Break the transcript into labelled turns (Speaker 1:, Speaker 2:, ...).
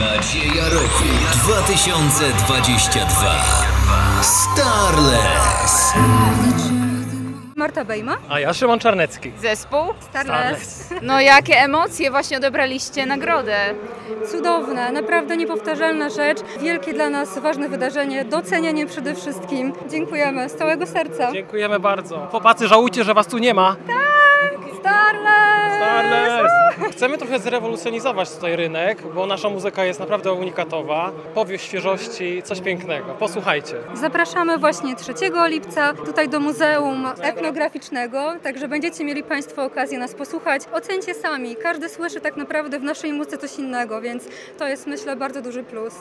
Speaker 1: Nadzieja roku 2022 Starless
Speaker 2: Marta Bejma?
Speaker 3: A ja Szymon Czarnecki.
Speaker 4: Zespół?
Speaker 2: Starless.
Speaker 4: No jakie emocje właśnie odebraliście nagrodę?
Speaker 2: Cudowne, naprawdę niepowtarzalna rzecz. Wielkie dla nas ważne wydarzenie, docenienie przede wszystkim. Dziękujemy z całego serca.
Speaker 3: Dziękujemy bardzo. Chłopacy, żałujcie, że was tu nie ma.
Speaker 2: Starless!
Speaker 3: Starless! Chcemy trochę zrewolucjonizować tutaj rynek, bo nasza muzyka jest naprawdę unikatowa. Powiew świeżości, coś pięknego. Posłuchajcie.
Speaker 2: Zapraszamy właśnie 3 lipca tutaj do Muzeum Etnograficznego, także będziecie mieli Państwo okazję nas posłuchać. Ocencie sami, każdy słyszy tak naprawdę w naszej muzyce coś innego, więc to jest myślę bardzo duży plus.